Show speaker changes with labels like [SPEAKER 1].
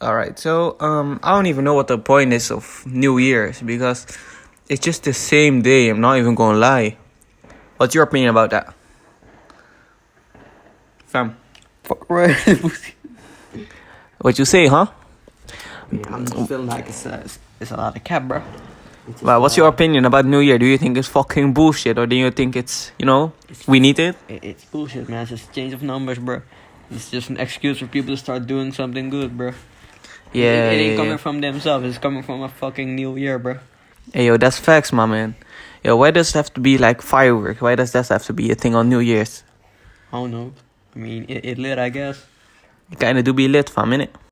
[SPEAKER 1] All right, so um, I don't even know what the point is of New Year's because it's just the same day. I'm not even gonna lie. What's your opinion about that, fam?
[SPEAKER 2] Fuck right. pussy.
[SPEAKER 1] What you say, huh?
[SPEAKER 2] Yeah, I'm just feeling like it's a, it's, it's a lot of cap, bro. It's
[SPEAKER 1] Well,
[SPEAKER 2] just,
[SPEAKER 1] what's
[SPEAKER 2] uh,
[SPEAKER 1] your opinion about New Year? Do you think it's fucking bullshit, or do you think it's you know we need it?
[SPEAKER 2] It, it's bullshit, man. It's just change of numbers, bro. It's just an excuse for people to start doing something good, bro.
[SPEAKER 1] Yeah.
[SPEAKER 2] It, it ain't
[SPEAKER 1] yeah, yeah.
[SPEAKER 2] coming from themselves. It's coming from a fucking new year, bro.
[SPEAKER 1] Hey, yo, that's facts, my man. Yo, why does it have to be like firework? Why does that have to be a thing on New Year's?
[SPEAKER 2] I don't know. I mean, it, it lit, I guess.
[SPEAKER 1] It kinda do be lit, fam, innit?